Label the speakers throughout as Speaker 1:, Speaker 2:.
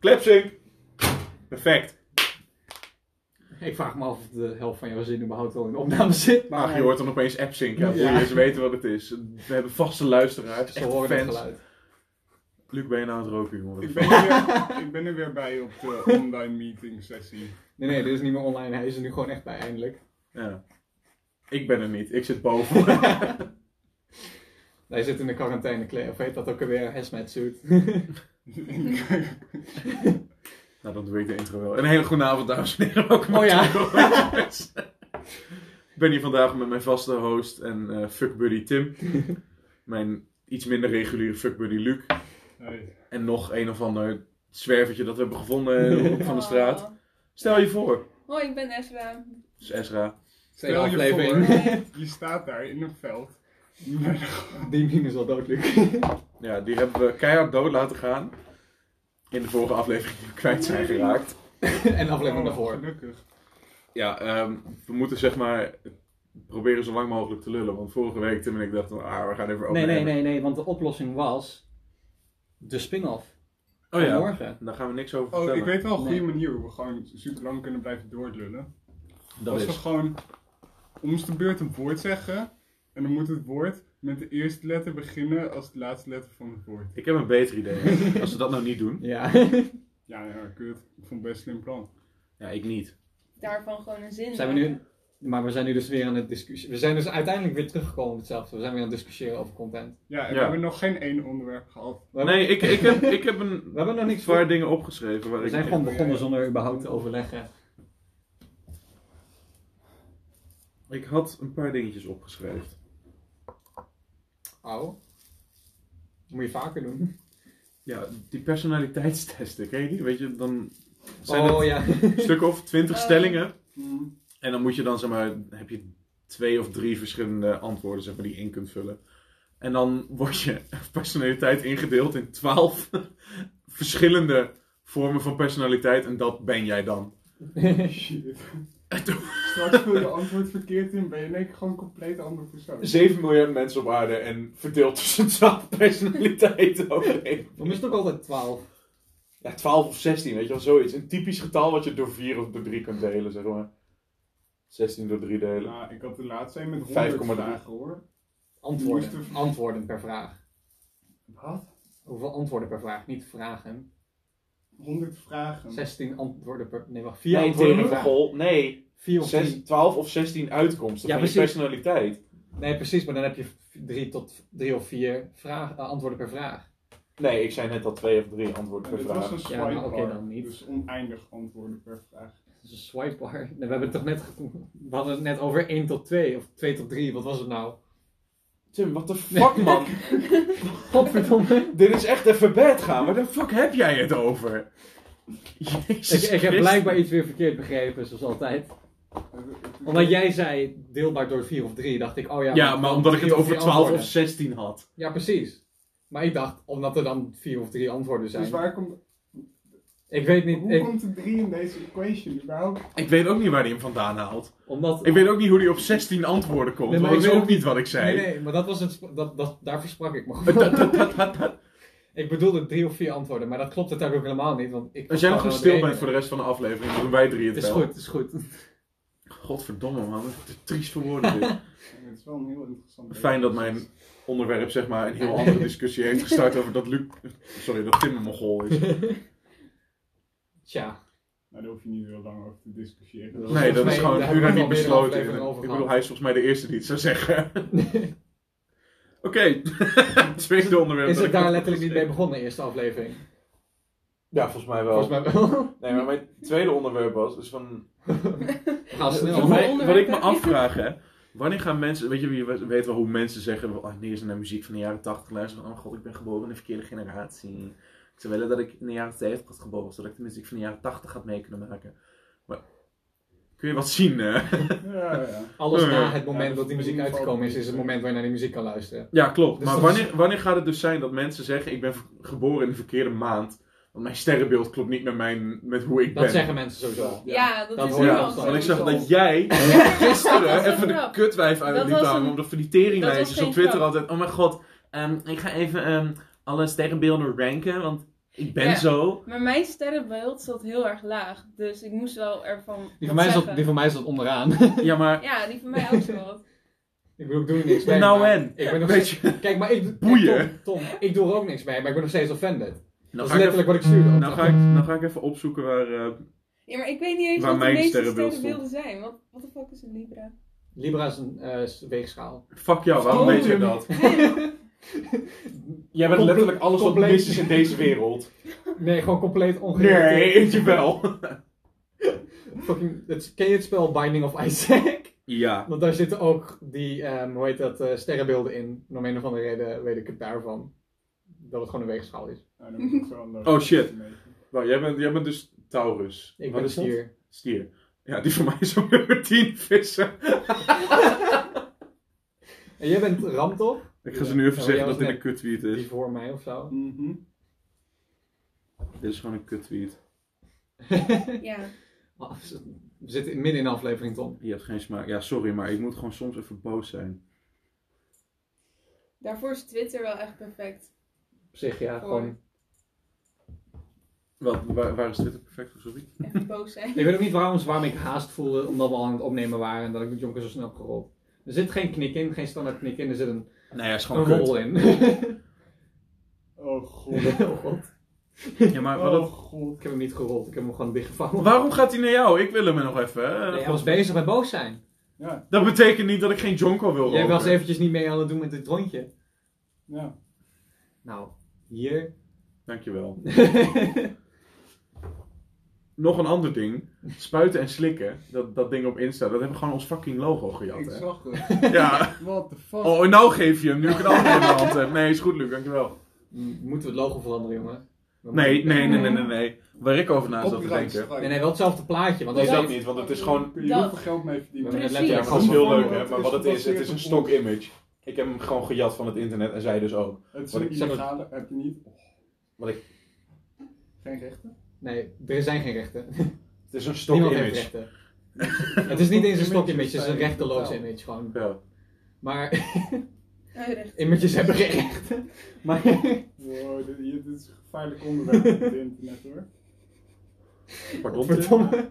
Speaker 1: Klepsing. Perfect.
Speaker 2: Ik vraag me af of de helft van jouw zin überhaupt wel in de opname zit. Maar
Speaker 1: Ach, je hoort dan opeens appsync. Ja,
Speaker 2: Ja.
Speaker 1: boeien, ze weten wat het is. We hebben vaste luisteraars,
Speaker 2: Ze
Speaker 1: echte
Speaker 2: horen het
Speaker 1: fans.
Speaker 2: geluid.
Speaker 1: Luc, ben je nou aan het roken, jongen?
Speaker 3: Ik ben, er weer, ik ben er weer bij op de online meeting sessie.
Speaker 2: Nee, nee, dit is niet meer online. Hij is er nu gewoon echt bij, eindelijk.
Speaker 1: Ja. Ik ben er niet, ik zit boven.
Speaker 2: Hij zit in de quarantaine clay. Of heet dat ook alweer? Hazmat suit.
Speaker 1: nou, dan doe ik de intro wel. Een hele goede avond, dames en heren. Welkom
Speaker 2: Oh ja.
Speaker 1: bij de Ik ben hier vandaag met mijn vaste host en eh fuck buddy Tim. Mijn iets minder reguliere fuck buddy Luc.
Speaker 3: Hey.
Speaker 1: En nog een of ander zwervertje dat we hebben gevonden in de hoek van de straat.
Speaker 4: Oh.
Speaker 1: Stel je voor.
Speaker 4: Hoi, ik ben eh, Ezra.
Speaker 1: Dat is Ezra.
Speaker 2: Tweede
Speaker 3: Stel je
Speaker 2: aflevering.
Speaker 3: Je staat daar in een veld. Met
Speaker 2: Die meme is wel dodelijk.
Speaker 1: Ja, die hebben we keihard dood laten gaan. In de vorige aflevering die we kwijt zijn geraakt.
Speaker 2: en de aflevering daarvoor.
Speaker 3: Oh, Gelukkig.
Speaker 1: Ja, ehm, we moeten zeg maar proberen zo lang mogelijk te lullen. Want vorige week, Tim en ik dachten, ah, we gaan even over
Speaker 2: Nee, nee,
Speaker 1: hebben.
Speaker 2: nee, nee, want de oplossing was de spin-off
Speaker 1: Oh ja,
Speaker 2: morgen.
Speaker 1: daar gaan we niks over
Speaker 3: Oh,
Speaker 1: vertellen.
Speaker 3: ik weet wel een goede
Speaker 2: Nee.
Speaker 3: manier hoe we gewoon super lang kunnen blijven doordlullen.
Speaker 1: Dat
Speaker 3: Als we
Speaker 1: is.
Speaker 3: gewoon om eens de beurt een woord zeggen. En dan moet het woord met de eerste letter beginnen als de laatste letter van het woord.
Speaker 1: Ik heb een beter idee. Als we dat nou niet doen.
Speaker 2: Ja.
Speaker 3: Ja, ja, kut. Ik vond het best een slim plan.
Speaker 1: Ja, ik niet.
Speaker 4: Daarvan gewoon een zin.
Speaker 2: zijn we
Speaker 4: maken.
Speaker 2: nu, maar we zijn nu dus weer aan het discussiëren. We zijn dus uiteindelijk weer teruggekomen op hetzelfde. We zijn weer aan het discussiëren over content.
Speaker 3: Ja, en
Speaker 1: Ja.
Speaker 3: we hebben nog geen één onderwerp gehad.
Speaker 2: We hebben,
Speaker 1: Nee, ik, ik, heb, ik heb een
Speaker 2: we hebben nog niks
Speaker 1: paar
Speaker 2: voor.
Speaker 1: dingen opgeschreven. Waar
Speaker 2: We
Speaker 1: ik
Speaker 2: zijn gewoon begonnen zonder überhaupt te overleggen.
Speaker 1: Ik had een paar dingetjes opgeschreven.
Speaker 2: Oh. Moet je vaker doen.
Speaker 1: Ja, die personaliteitstesten, ken je die? Weet je, dan zijn
Speaker 2: Oh
Speaker 1: het
Speaker 2: ja.
Speaker 1: een stuk of twintig
Speaker 4: Oh.
Speaker 1: stellingen.
Speaker 3: Hm.
Speaker 1: En dan moet je dan, zeg maar, heb je twee of drie verschillende antwoorden, zeg maar, die je in kunt vullen. En dan wordt je personaliteit ingedeeld in twaalf verschillende vormen van personaliteit. En dat ben jij dan.
Speaker 3: Shit. Straks vul je antwoord verkeerd in, ben je in één keer gewoon een compleet andere persoon.
Speaker 1: 7 miljard mensen op aarde en verdeeld tussen 12 personaliteiten overheen.
Speaker 2: Dan is het ook altijd 12.
Speaker 1: Ja, 12 of 16, weet je wel, zoiets. Een typisch getal wat je door 4 of door 3 kunt delen, zeg maar. 16 door 3 delen.
Speaker 3: Nou, ik had de laatste een met 100
Speaker 1: 5,3.
Speaker 3: vragen hoor.
Speaker 2: Antwoorden. Antwoorden per vraag.
Speaker 3: Wat?
Speaker 2: Hoeveel antwoorden per vraag? Niet vragen.
Speaker 3: 100 vragen.
Speaker 2: 16 antwoorden per... Nee, wacht. 4
Speaker 1: Nee,
Speaker 2: antwoorden per
Speaker 1: tegen
Speaker 2: vraag.
Speaker 1: goal. Nee,
Speaker 2: 4 of 3.
Speaker 1: 12 of 16 uitkomsten
Speaker 2: Ja,
Speaker 1: van je
Speaker 2: precies.
Speaker 1: personaliteit.
Speaker 2: Nee, precies, maar dan heb je v- drie, tot, drie of vier vraag, eh, antwoorden per vraag.
Speaker 1: Nee, ik zei net al 2 of 3 antwoorden
Speaker 3: Ja,
Speaker 1: per
Speaker 3: dit was
Speaker 1: vraag.
Speaker 3: een
Speaker 2: Ja,
Speaker 3: swipe
Speaker 2: nou, oké,
Speaker 3: bar,
Speaker 2: dan niet.
Speaker 3: Dus oneindig antwoorden per vraag.
Speaker 2: Dat is een swipe bar. Nee, we, hebben het toch net, ge- we hadden het net over 1 tot 2 of 2 tot 3, wat was het nou?
Speaker 1: Tim, what the fuck man?
Speaker 2: Godverdomme.
Speaker 1: Dit is echt even bed gaan. Waar de fuck heb jij het over?
Speaker 2: ik,
Speaker 1: Jezus
Speaker 2: ik heb
Speaker 1: Christus.
Speaker 2: blijkbaar iets weer verkeerd begrepen, zoals altijd.
Speaker 3: Dus
Speaker 2: Omdat jij zei deelbaar door 4 of 3, dacht ik, oh ja.
Speaker 1: Ja, maar omdat ik
Speaker 2: drie
Speaker 1: het over
Speaker 2: vier
Speaker 1: 12 of
Speaker 2: antwoorden.
Speaker 1: 16 had.
Speaker 2: Ja, precies. Maar ik dacht, omdat er dan 4 of 3 antwoorden zijn.
Speaker 3: Dus waar komt,
Speaker 2: Ik weet niet,
Speaker 3: hoe
Speaker 2: ik-
Speaker 3: komt de 3 in deze equation überhaupt?
Speaker 1: Ik weet ook niet waar hij hem vandaan haalt.
Speaker 2: omdat...
Speaker 1: Ik weet ook niet hoe hij op 16 antwoorden komt.
Speaker 2: Nee, maar
Speaker 1: want
Speaker 2: ik
Speaker 1: dat is
Speaker 2: weet
Speaker 1: ook
Speaker 2: ook
Speaker 1: niet wat ik zei.
Speaker 2: Nee, nee, maar dat was het, sp- dat, dat, daar versprak ik me goed. Ik bedoelde drie of vier antwoorden, maar dat klopt het ook helemaal niet. Want ik
Speaker 1: Als jij nog
Speaker 2: gewoon
Speaker 1: gewoon stil
Speaker 2: één.
Speaker 1: bent voor de rest van de aflevering, dan doen wij drie het
Speaker 2: Het Oh, is
Speaker 1: wel.
Speaker 2: goed, het is goed.
Speaker 1: Godverdomme man, het is triest voor woorden dit.
Speaker 3: Ja, Het is wel een heel interessant
Speaker 1: Fijn dat mijn onderwerp zeg maar een heel andere discussie heeft gestart over dat Luc... Sorry, dat Tim een mogol is.
Speaker 2: Tja,
Speaker 3: Nou, daar hoef je niet heel lang over te discussiëren.
Speaker 2: Dat
Speaker 1: Nee,
Speaker 2: volgens
Speaker 1: dat is
Speaker 2: mij- daar
Speaker 1: gewoon
Speaker 2: hebben we
Speaker 1: unaniem
Speaker 2: het al
Speaker 1: besloten.
Speaker 2: meer in de aflevering over
Speaker 1: Ik
Speaker 2: gehad.
Speaker 1: bedoel, hij is volgens mij de eerste die het zou zeggen. Oké, tweede onderwerp.
Speaker 2: is
Speaker 1: dat
Speaker 2: het
Speaker 1: ik
Speaker 2: daar
Speaker 1: had
Speaker 2: letterlijk niet mee
Speaker 1: opgeschreven.
Speaker 2: begonnen, eerste aflevering?
Speaker 1: Ja, volgens mij wel.
Speaker 2: Volgens mij wel.
Speaker 1: Nee, maar mijn tweede onderwerp was dus van...
Speaker 2: We gaan
Speaker 1: Wat,
Speaker 2: snel.
Speaker 4: Hoeveel
Speaker 1: mij- wat ik me
Speaker 4: onderwerpen?
Speaker 1: afvraag, hè. Wanneer gaan mensen... Weet je, je weet wel hoe mensen zeggen... Oh, nee, ze naar muziek van de jaren 80 luisteren. Van, oh god, ik ben geboren in de verkeerde generatie. Ik zou willen dat ik in de jaren 70 had geboren. Zodat ik de muziek van de jaren 80 had mee kunnen maken. Maar... Kun je wat zien, hè?
Speaker 3: Ja, ja.
Speaker 2: Alles na
Speaker 1: Ja,
Speaker 2: het
Speaker 3: dat
Speaker 2: moment
Speaker 3: is
Speaker 2: dat die muziek
Speaker 3: in ieder geval
Speaker 2: uitgekomen is, is het
Speaker 3: niet.
Speaker 2: moment waar je naar die muziek kan luisteren.
Speaker 1: Ja, klopt.
Speaker 2: Dus
Speaker 1: maar
Speaker 2: dat
Speaker 1: wanneer, wanneer gaat het dus zijn dat mensen zeggen: Ik ben v- geboren in de verkeerde maand? Want mijn sterrenbeeld klopt niet met, mijn, met hoe ik
Speaker 2: Dat
Speaker 1: ben.
Speaker 2: zeggen mensen sowieso.
Speaker 4: Ja, dat,
Speaker 2: Dat
Speaker 4: is
Speaker 2: hoor je
Speaker 4: nu
Speaker 1: ja,
Speaker 2: wel
Speaker 4: al
Speaker 2: eens.
Speaker 1: want
Speaker 4: zo.
Speaker 1: ik zag
Speaker 3: sowieso.
Speaker 1: dat jij gisteren
Speaker 4: dat was
Speaker 1: even
Speaker 4: een
Speaker 1: de
Speaker 4: grap.
Speaker 1: kutwijf uit
Speaker 4: Dat
Speaker 1: het liep
Speaker 4: was
Speaker 1: hangen.
Speaker 4: een-
Speaker 1: Omdat van die teringlijstjes
Speaker 4: dat was
Speaker 1: op
Speaker 4: geen
Speaker 1: Twitter
Speaker 4: grap.
Speaker 1: altijd: Oh mijn god, ehm, ik ga even ehm, alle sterrenbeelden ranken. Want Ik ben
Speaker 4: Ja.
Speaker 1: zo.
Speaker 4: Maar mijn sterrenbeeld zat heel erg laag. Dus ik moest wel ervan.
Speaker 2: Die
Speaker 4: wat
Speaker 2: van, mij
Speaker 4: zeggen.
Speaker 2: zat, die van mij zat onderaan.
Speaker 1: Ja, maar
Speaker 4: Ja, die van mij ook zo wat.
Speaker 2: ik bedoel, ik doe er niks mee.
Speaker 1: nou
Speaker 2: maar
Speaker 1: en?
Speaker 2: Ik ben nog
Speaker 1: Weet
Speaker 2: steeds...
Speaker 1: je,
Speaker 2: Kijk, maar ik... eh,
Speaker 1: Boeien.
Speaker 2: Tom, Tom, ik doe er ook niks mee, maar ik ben nog steeds offended.
Speaker 1: nou
Speaker 2: dat
Speaker 1: ga, ik
Speaker 2: is
Speaker 1: even,
Speaker 2: letterlijk wat ik stuurde.
Speaker 1: nou, ga ik, nou ga ik even opzoeken waar... eh,
Speaker 4: Ja, maar ik weet niet eens
Speaker 1: Waar
Speaker 4: wat de
Speaker 1: mijn
Speaker 4: meeste
Speaker 1: sterrenbeeld
Speaker 4: sterrenbeelden zijn. Wat, wat de fuck is een Libra?
Speaker 2: Libra is een eh, weegschaal.
Speaker 1: fuck jou, waarom
Speaker 2: Oh,
Speaker 1: weet je
Speaker 2: nee.
Speaker 1: dat? Jij bent
Speaker 2: Comple-
Speaker 1: letterlijk alles wat
Speaker 2: compleet-
Speaker 1: mis is in deze wereld.
Speaker 2: Nee, gewoon compleet ongerelateerd.
Speaker 1: Nee, weet je wel.
Speaker 2: Fucking, het, ken je het spel Binding of Isaac?
Speaker 1: Ja.
Speaker 2: Want daar zitten ook die, ehm, hoe heet dat, eh, sterrenbeelden in. En om een of andere reden weet ik het daarvan. Dat het gewoon een weegschaal is.
Speaker 3: Nou, dan moet ik zo aan de-
Speaker 1: Oh, shit. Nou, jij, bent, jij bent dus Taurus.
Speaker 2: Ik
Speaker 1: Wat
Speaker 2: ben
Speaker 1: is dat?
Speaker 2: hier.
Speaker 1: Stier. Ja, die voor mij is ook nummer 10 vissen.
Speaker 2: En jij bent ram toch?
Speaker 1: Ik ga ze nu even
Speaker 2: Ja,
Speaker 1: zeggen
Speaker 2: jij
Speaker 1: dat
Speaker 2: was
Speaker 1: dit een
Speaker 2: net-
Speaker 1: kuttweet
Speaker 2: Die
Speaker 1: is.
Speaker 2: voor mij of zo.
Speaker 3: Mhm.
Speaker 1: Dit is gewoon een kuttweet.
Speaker 4: Ja.
Speaker 2: Ah, We zitten midden in de aflevering, Tom.
Speaker 1: Je hebt geen smaak. Ja, sorry, maar ik moet gewoon soms even boos zijn.
Speaker 4: Daarvoor is Twitter wel echt perfect.
Speaker 2: Op zich,
Speaker 1: Oh,
Speaker 2: ja,
Speaker 4: Voor.
Speaker 2: gewoon.
Speaker 1: Wat, waar, waar is dit het perfect voor, sorry?
Speaker 4: Echt boos zijn.
Speaker 2: Ik weet ook niet waarom, waarom ik haast voelde, omdat we al aan het opnemen waren en dat ik de jonker zo snel heb gerold. Er zit geen knik in, geen standaard knik in, er zit een,
Speaker 1: Nee, ja, is
Speaker 2: een rol in.
Speaker 3: Oh god.
Speaker 2: oh god.
Speaker 1: Ja, maar wat
Speaker 3: Oh
Speaker 1: het-
Speaker 3: god.
Speaker 2: Ik heb hem niet gerold, ik heb hem gewoon dichtgevouwen.
Speaker 1: waarom gaat hij naar jou? Ik wil hem nog even. hè?
Speaker 2: Nee, hij was bezig met boos zijn.
Speaker 3: Ja,
Speaker 1: Dat betekent niet dat ik geen jonko wil roken.
Speaker 2: Jij was eventjes niet mee aan het doen met dit rondje.
Speaker 3: ja.
Speaker 2: Nou, hier.
Speaker 1: Dankjewel. Nog een ander ding. Spuiten en slikken. Dat, dat ding op Insta. Dat hebben we gewoon ons fucking logo gejat,
Speaker 3: Ik
Speaker 1: hè?
Speaker 3: zag het.
Speaker 1: Ja.
Speaker 3: What the fuck?
Speaker 1: Oh, en nou geef je hem, nu ik een ander in de hand heb. Nee, is goed, Luc, dankjewel.
Speaker 2: M- Moeten we het logo veranderen, jongen? We
Speaker 1: Nee,
Speaker 2: moeten-
Speaker 1: nee, nee, nee, nee. nee. Waar ik over na zat te
Speaker 3: Copyright
Speaker 1: denken.
Speaker 3: strike.
Speaker 2: Nee, nee, wel hetzelfde plaatje. Want
Speaker 1: Nee,
Speaker 2: als
Speaker 4: Ja.
Speaker 1: dat
Speaker 2: jij-
Speaker 1: niet, want het is gewoon...
Speaker 3: Kun je
Speaker 4: Dat.
Speaker 3: heel veel geld mee
Speaker 2: we
Speaker 3: verdienen.
Speaker 2: hebben het letterlijk
Speaker 4: Precies.
Speaker 1: Ja, dat is
Speaker 2: gewoon-
Speaker 1: heel leuk, hè. Maar wat het is, het is een stock image. Ik heb hem gewoon gejat van het internet en zij dus ook.
Speaker 3: Het is
Speaker 1: Wat
Speaker 3: een
Speaker 1: ik zeg-
Speaker 3: illegale, heb je niet?
Speaker 1: Wat ik...
Speaker 3: Geen rechten?
Speaker 2: Nee, er zijn geen rechten.
Speaker 1: Het is een stock
Speaker 2: Niemand heeft
Speaker 1: image.
Speaker 2: rechten. Het is niet eens een stock image,
Speaker 3: Images
Speaker 2: het is een
Speaker 3: zijn
Speaker 2: rechteloos
Speaker 3: totaal.
Speaker 2: image gewoon.
Speaker 1: Ja.
Speaker 2: Maar
Speaker 4: Uitrecht.
Speaker 2: images hebben geen rechten. Maar
Speaker 3: Wow, dit, hier- dit is een gevaarlijk onderwerp op het internet hoor.
Speaker 1: Pardon.
Speaker 2: verdomme.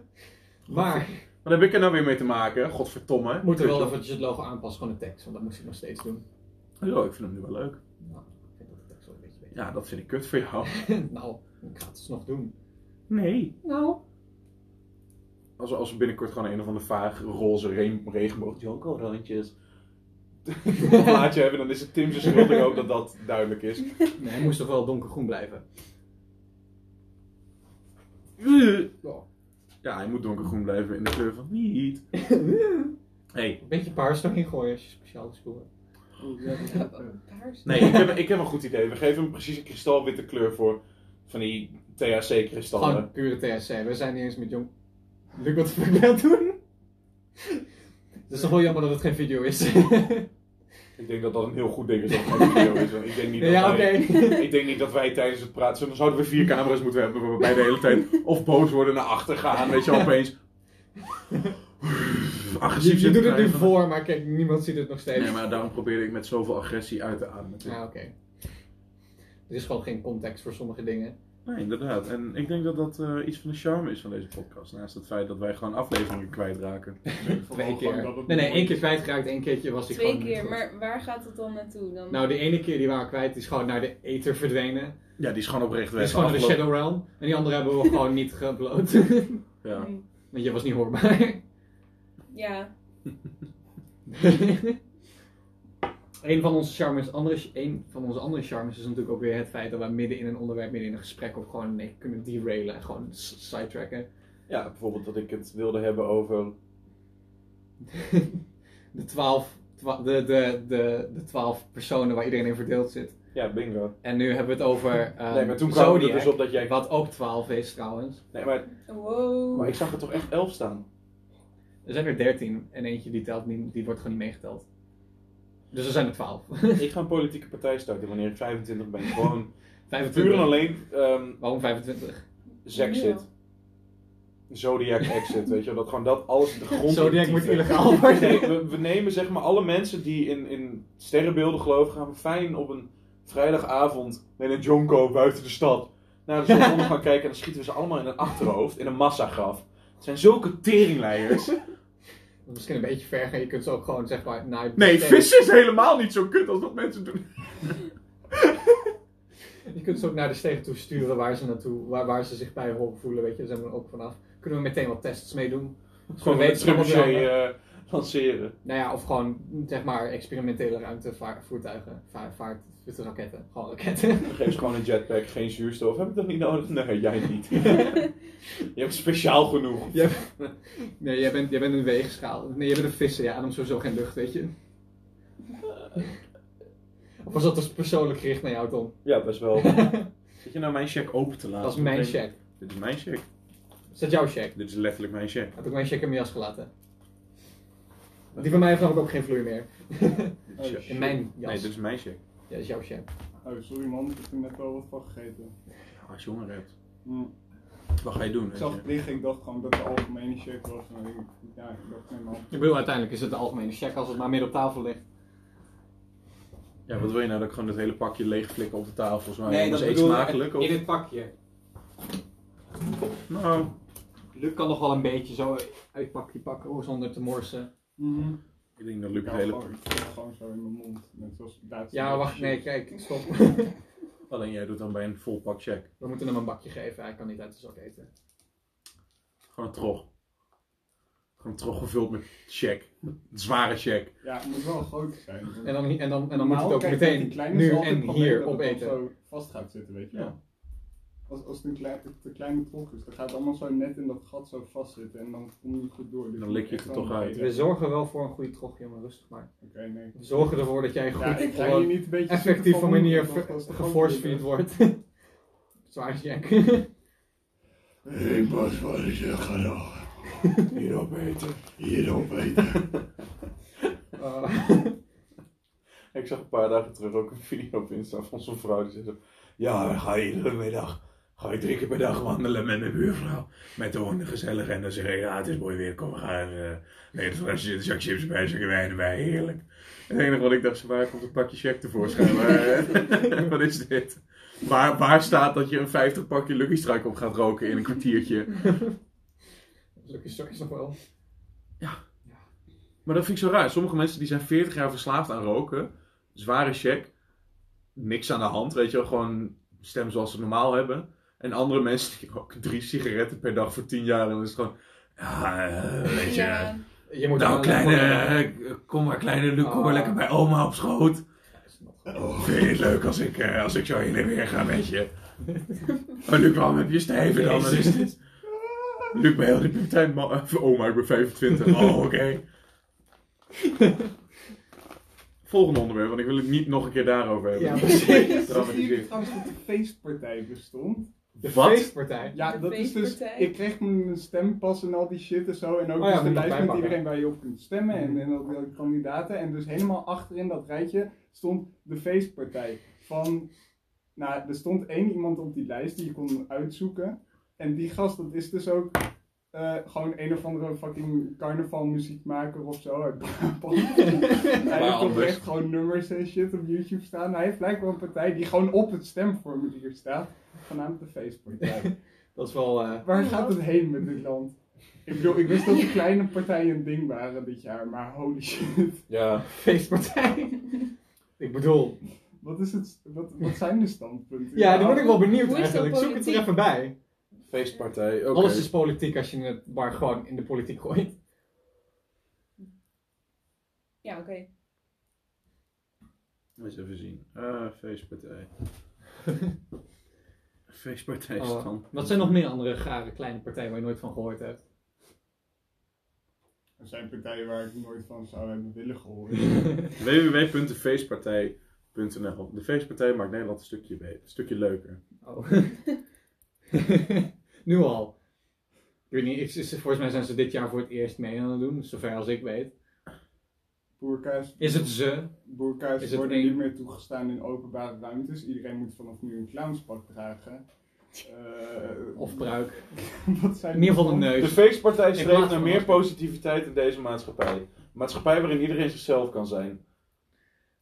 Speaker 2: Maar
Speaker 1: Wat heb ik er nou weer mee te maken? Godverdomme.
Speaker 2: we moeten wel
Speaker 1: Kut,
Speaker 2: eventjes het logo aanpassen, gewoon de tekst, want dat moest ik nog steeds doen.
Speaker 1: joh. Oh, ik vind hem nu wel leuk.
Speaker 2: Nou, ik vind dat de tekst wel een beetje beter.
Speaker 1: Ja, dat vind ik kut voor jou.
Speaker 2: Nou, ik ga het dus nog doen.
Speaker 1: Nee.
Speaker 2: Nou.
Speaker 1: Als we, als we binnenkort gewoon een of ander vaag roze re regenboog jonko randjes plaatje hebben, dan is het Tim's schuld ik ook dat dat duidelijk is.
Speaker 2: Nee, hij moest toch wel donkergroen blijven.
Speaker 1: Ja, hij moet donkergroen blijven in de kleur van niet. Hey.
Speaker 2: Een beetje paars erin gooien als je speciaal school hebt.
Speaker 3: Oh, ja, dat is ook, eh,
Speaker 4: Paars.
Speaker 1: Nee, ik heb, ik heb een goed idee. We geven hem precies een kristalwitte kleur voor van die THC-kristallen.
Speaker 2: Gewoon pure TSC, we zijn niet eens met jong... Luc, wat ben je aan het doen? Het is toch wel jammer dat het geen video is.
Speaker 1: Ik denk dat dat een heel goed ding is dat het een video is. want Ik denk niet dat
Speaker 2: ja,
Speaker 1: wij-
Speaker 2: oké.
Speaker 1: Ik denk niet dat wij tijdens het praten. Dan zouden we vier camera's moeten hebben waarbij de hele tijd of boos worden naar achter gaan. Weet je, opeens.
Speaker 2: Je,
Speaker 1: Agressief
Speaker 2: je
Speaker 1: zitten
Speaker 2: doet het nu
Speaker 1: krijgen.
Speaker 2: voor, maar kijk, niemand ziet het nog steeds.
Speaker 1: Nee, maar daarom probeerde ik met zoveel agressie uit te ademen.
Speaker 2: Ja, oké. Er is gewoon geen context voor sommige dingen.
Speaker 1: Nee, inderdaad. En ik denk dat dat eh, iets van de charme is van deze podcast. Naast het feit dat wij gewoon afleveringen kwijtraken.
Speaker 3: vooral
Speaker 2: Twee keer.
Speaker 3: gewoon dat het
Speaker 2: Nee, nee,
Speaker 3: mooi
Speaker 2: één keer
Speaker 3: is.
Speaker 2: kwijtgeraakt, één keertje was ik
Speaker 4: Twee
Speaker 2: gewoon... niet
Speaker 4: keer,
Speaker 2: goed.
Speaker 4: maar waar gaat het dan naartoe dan?
Speaker 2: Nou, de ene keer die waren we kwijt, die is gewoon naar de ether verdwenen.
Speaker 1: Ja, die is gewoon oprecht
Speaker 2: Die
Speaker 1: weg.
Speaker 2: is gewoon naar de Shadow Realm. En die andere hebben we gewoon niet geüpload.
Speaker 1: Ja.
Speaker 4: Hm.
Speaker 2: Want je was niet hoorbaar.
Speaker 4: Ja.
Speaker 2: een van onze charmes, andere, een van onze andere charmes is natuurlijk ook weer het feit dat we midden in een onderwerp, midden in een gesprek ook gewoon nee, kunnen derailen en gewoon s- sidetracken.
Speaker 1: ja, bijvoorbeeld dat ik het wilde hebben over.
Speaker 2: de, twaalf, twa- de, de, de, de twaalf personen waar iedereen in verdeeld zit.
Speaker 1: Ja, bingo.
Speaker 2: En nu hebben we het over ehm
Speaker 1: nee, maar toen kwam
Speaker 2: Zodiac,
Speaker 1: het dus op dat jij.
Speaker 2: wat ook 12 is trouwens.
Speaker 1: Nee, maar,
Speaker 4: Wow.
Speaker 1: maar ik zag er toch echt elf staan.
Speaker 2: Er zijn er 13 en eentje die telt niet, die wordt gewoon niet meegeteld. Dus er zijn er 12.
Speaker 1: Ik ga een politieke partij starten wanneer ik 25 ben. Gewoon puur en
Speaker 2: 25.
Speaker 1: alleen ehm
Speaker 2: Waarom 25?
Speaker 1: Zexit. Zodiac exit, weet je wel. Dat gewoon dat alles de grond
Speaker 2: Zodiac
Speaker 1: in
Speaker 2: moet
Speaker 1: typen.
Speaker 2: illegaal worden.
Speaker 1: Nee, we, we nemen zeg maar alle mensen die in, in sterrenbeelden geloven, gaan we fijn op een vrijdagavond met een jonko buiten de stad. naar de zon gaan kijken en dan schieten we ze allemaal in een achterhoofd, in een massagraf. Het zijn zulke teringleiers.
Speaker 2: Dat is misschien een beetje ver gaan. Je kunt ze ook gewoon zeg maar naar je
Speaker 1: Nee,
Speaker 2: bestemming-
Speaker 1: vissen is helemaal niet zo kut als dat mensen doen.
Speaker 2: Je kunt ze ook naar de stegen toe sturen waar ze, naartoe, waar, waar ze zich bij horen voelen. Weet je, daar zijn we ook vanaf. Kunnen we meteen wat tests meedoen?
Speaker 1: Gewoon
Speaker 2: Voor
Speaker 1: met trebuchet
Speaker 2: wetenschap-
Speaker 1: eh, lanceren.
Speaker 2: Nou ja, of gewoon zeg maar experimentele ruimtevoertuigen, vaart, vaart, raketten, gewoon raketten.
Speaker 1: Dan geef ze gewoon een jetpack, geen zuurstof. Heb ik dat niet nodig? Nee, jij niet. Je hebt speciaal genoeg.
Speaker 2: Jij- nee, jij bent, jij bent een weegschaal. Nee, jij bent een visser, ja, dan sowieso geen lucht, weet je. Of was dat dus persoonlijk gericht naar jou, Tom?
Speaker 1: Ja, best wel. Zit je nou mijn check open te laten?
Speaker 2: Dat is mijn
Speaker 1: Ik denk,
Speaker 2: check.
Speaker 1: Dit is mijn check.
Speaker 2: Is dat jouw check?
Speaker 1: Dit is letterlijk mijn check.
Speaker 2: Heb ik mijn check in mijn jas gelaten? Die van mij heeft namelijk ook geen vloei meer.
Speaker 1: Dit is
Speaker 3: Oh,
Speaker 1: je-
Speaker 3: shit.
Speaker 2: In mijn jas.
Speaker 1: Nee, dus- dit is mijn check.
Speaker 2: Ja, dat is jouw check.
Speaker 3: Oh, sorry man, ik heb er net wel wat van gegeten.
Speaker 1: Als je honger hebt,
Speaker 3: Hm.
Speaker 1: wat ga je doen?
Speaker 3: Ik
Speaker 1: weet
Speaker 3: zag
Speaker 1: je?
Speaker 3: het liggen, ik dacht gewoon dat het een algemene check was. Maar ik, ja, ik dacht nee man.
Speaker 2: Ik bedoel, uiteindelijk is het de algemene check als het maar midden op tafel ligt.
Speaker 1: Ja, wat wil je nou? Dat ik gewoon het hele pakje leeg flikken op de tafel. Volgens mij
Speaker 2: Nee, dat
Speaker 1: is eet
Speaker 2: bedoel ik.
Speaker 1: smakelijk. Of...
Speaker 2: In het pakje.
Speaker 1: Nou,
Speaker 2: Luc kan nog wel een beetje zo uit pakje pakken hoor, zonder te morsen.
Speaker 3: Mhm.
Speaker 1: ik denk dat
Speaker 3: Ik
Speaker 1: Luc het
Speaker 3: hou
Speaker 1: hele...
Speaker 3: gewoon- ik heb gewoon zo in mijn mond. Net zoals Duitse
Speaker 2: Ja,
Speaker 3: mensen.
Speaker 2: wacht, nee, kijk, stop.
Speaker 1: Alleen jij doet dan bij een vol pak check.
Speaker 2: We moeten hem een bakje geven, hij kan niet uit de zak eten.
Speaker 1: Gewoon een trog. Gewoon een trog gevuld met check. Een zware check.
Speaker 3: Ja, het moet wel groot zijn.
Speaker 2: En dan, en dan, en dan moet hij het ook meteen nu en hier opeten.
Speaker 3: zo vast gaat zitten, weet je
Speaker 1: Ja.
Speaker 3: wel. Als, als het een klein, te kleine trok is, dan gaat het allemaal zo net in dat gat zo vastzitten en dan kom je niet goed door. Dus
Speaker 1: Dan lik je het er toch uit.
Speaker 2: We zorgen wel voor een goede trog, jongen, rustig maar.
Speaker 3: Oké, nee.
Speaker 2: We zorgen ervoor dat jij
Speaker 3: Ja, ik
Speaker 2: goed
Speaker 3: ga hier
Speaker 2: gewoon
Speaker 3: niet een beetje
Speaker 2: effectieve manier
Speaker 3: ver-
Speaker 2: geforceerd wordt. Zwaar jack.
Speaker 3: Ik was wel eens een graag.
Speaker 1: Hierop eten.
Speaker 3: Hierop eten.
Speaker 2: Ah,
Speaker 1: Ik zag een paar dagen terug ook een video op Insta van zo'n vrouw die zei zo... Ja, dan ga je iedere middag... Ga je drie keer per dag wandelen met mijn buurvrouw. Met de honden gezellig. En dan zeg ik, ja, het is mooi weer. Kom, we gaan... eh nee, er zit een zak chips bij, een zakje wijn erbij. Heerlijk. Het enige wat ik dacht, ze, waar komt een pakje check tevoorschijn? Maar, eh, wat is dit? Waar, waar staat dat je een 50 pakje Lucky Strike op gaat roken in een kwartiertje?
Speaker 2: Lucky straks nog wel.
Speaker 1: Maar dat vind ik zo raar. Sommige mensen die zijn 40 jaar verslaafd aan roken. Zware check. Niks aan de hand, weet je wel. Gewoon stem zoals ze normaal hebben. En andere mensen die roken drie sigaretten per dag voor 10 jaar. En dan is het gewoon... Ja, eh, weet je...
Speaker 4: Ja,
Speaker 2: Je moet
Speaker 1: Nou,
Speaker 2: wel-
Speaker 1: kleine... eh, Kom maar, kleine Luc. Kom maar
Speaker 2: Ah.
Speaker 1: lekker bij oma op schoot. Oh, Vind je het leuk als ik, eh, als ik zo heen en weer ga met je? Maar Luc, waarom heb je stijven dan? Wat is dit? Luc, ik ben heel de puberteit. ma- eh, Oma, ik ben 25. Oh, oké. Volgende onderwerp, want ik wil het niet nog een keer daarover hebben.
Speaker 2: Ja,
Speaker 3: Precies. Zie je
Speaker 1: Traumatiseerd.
Speaker 3: trouwens dat de feestpartij bestond?
Speaker 2: De
Speaker 1: Wat?
Speaker 2: feestpartij.
Speaker 3: Ja,
Speaker 4: De
Speaker 3: dat is dus.
Speaker 4: feestpartij.
Speaker 3: Ik kreeg mijn stempas en al die shit en zo. En ook
Speaker 2: Oh ja,
Speaker 3: dus de
Speaker 2: moet je
Speaker 3: lijst
Speaker 2: erbij
Speaker 3: met
Speaker 2: pakken. Mhm.
Speaker 3: iedereen waar je op kunt stemmen en, en al die kandidaten. En dus helemaal achterin dat rijtje stond de feestpartij. Van, nou, er stond één iemand op die lijst die je kon uitzoeken. En die gast, dat is dus ook eh, gewoon een of andere fucking carnavalmuziekmaker of zo. uit Brabant. Hij heeft
Speaker 1: anders.
Speaker 3: oprecht gewoon nummers en shit op YouTube staan. Hij heeft blijkbaar een partij die gewoon op het stemformulier staat. Genaamd de feestpartij.
Speaker 2: Dat is wel... eh,
Speaker 3: Waar gaat het heen met dit land? Ik bedoel, ik wist dat de kleine partijen een ding waren dit jaar, maar holy shit.
Speaker 1: Ja.
Speaker 2: feestpartij. ik bedoel.
Speaker 3: Wat, is het, wat, wat zijn de standpunten?
Speaker 2: Ja, daar ben ik wel benieuwd
Speaker 4: Hoe is dat
Speaker 2: eigenlijk. Zoek het er
Speaker 4: politiek?
Speaker 2: even bij.
Speaker 1: Feestpartij, oké.
Speaker 2: Alles is politiek als je het maar gewoon in de politiek gooit.
Speaker 4: ja oké.
Speaker 1: Eens even zien. Ah, feestpartij. feestpartij
Speaker 2: Oh,
Speaker 1: stand.
Speaker 2: wat zijn nog meer andere gare kleine partijen waar je nooit van gehoord hebt?
Speaker 3: Er zijn partijen waar ik nooit van zou hebben willen gehoord.
Speaker 1: www.feestpartij.nl De feestpartij maakt Nederland een stukje, be- een stukje leuker.
Speaker 2: Oh. nu al. Ik weet niet, ik- is- volgens mij zijn ze dit jaar voor het eerst mee aan het doen, zover als ik weet.
Speaker 3: Boerka's,
Speaker 2: Is het ze?
Speaker 3: boerka's
Speaker 2: Is het
Speaker 3: worden
Speaker 2: een-
Speaker 3: niet meer toegestaan in openbare ruimtes. Iedereen moet vanaf nu een clownspak dragen. Eh,
Speaker 2: Of bruik?
Speaker 3: wat zijn
Speaker 2: In ieder geval de
Speaker 1: De
Speaker 2: neus.
Speaker 1: feestpartij
Speaker 2: Ik
Speaker 1: streeft
Speaker 2: maak
Speaker 1: naar
Speaker 2: van
Speaker 1: meer
Speaker 2: alles.
Speaker 1: positiviteit in deze maatschappij. Een maatschappij waarin iedereen zichzelf kan zijn.